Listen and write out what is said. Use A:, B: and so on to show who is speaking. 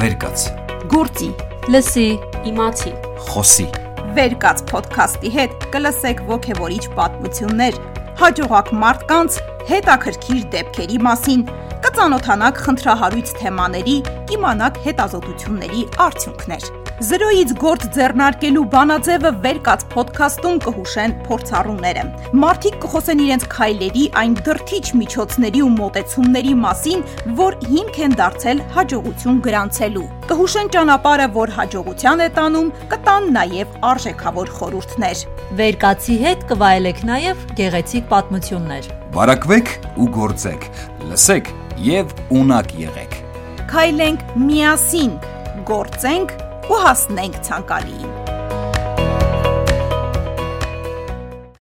A: վերկաց,
B: Գործի,
C: լսի, իմացի։
A: խոսի,
B: Վերկաց ոդքասթի հետ կլսեք ողևորիչ պատմություններ, հաջողակ մարդկանց, հետաքրքիր դեպքերի մասին, կծանոթանաք խնդրահարույց թեմաների, կիմանաք հետազոտությունների արդյունքներ։ Զրոյից գործ ձեռնարկելու բանաձևը Վերկաց ոդքասթում կհուշեն փորձառուները։ Մարդիկ կխոսեն իրենց քայլերի, այն դրթիչ միջոցների ու մոտեցումների մասին, որ հիմք են դարձել հաջողություն գրանցելու։ Կհուշեն ճանապարհը, որ հաջողության է տանում, կտան նաև արժեքավոր խորհուրդներ։
C: Վերկացի հետ կվայելեք նաև գեղեցիկ պատմություններ։
A: վարակվեք ու գործեք, լսեք եւ ունակ եղեք։
B: Քայլենք միասին, գործենք ու հասնենք ցանկալիին։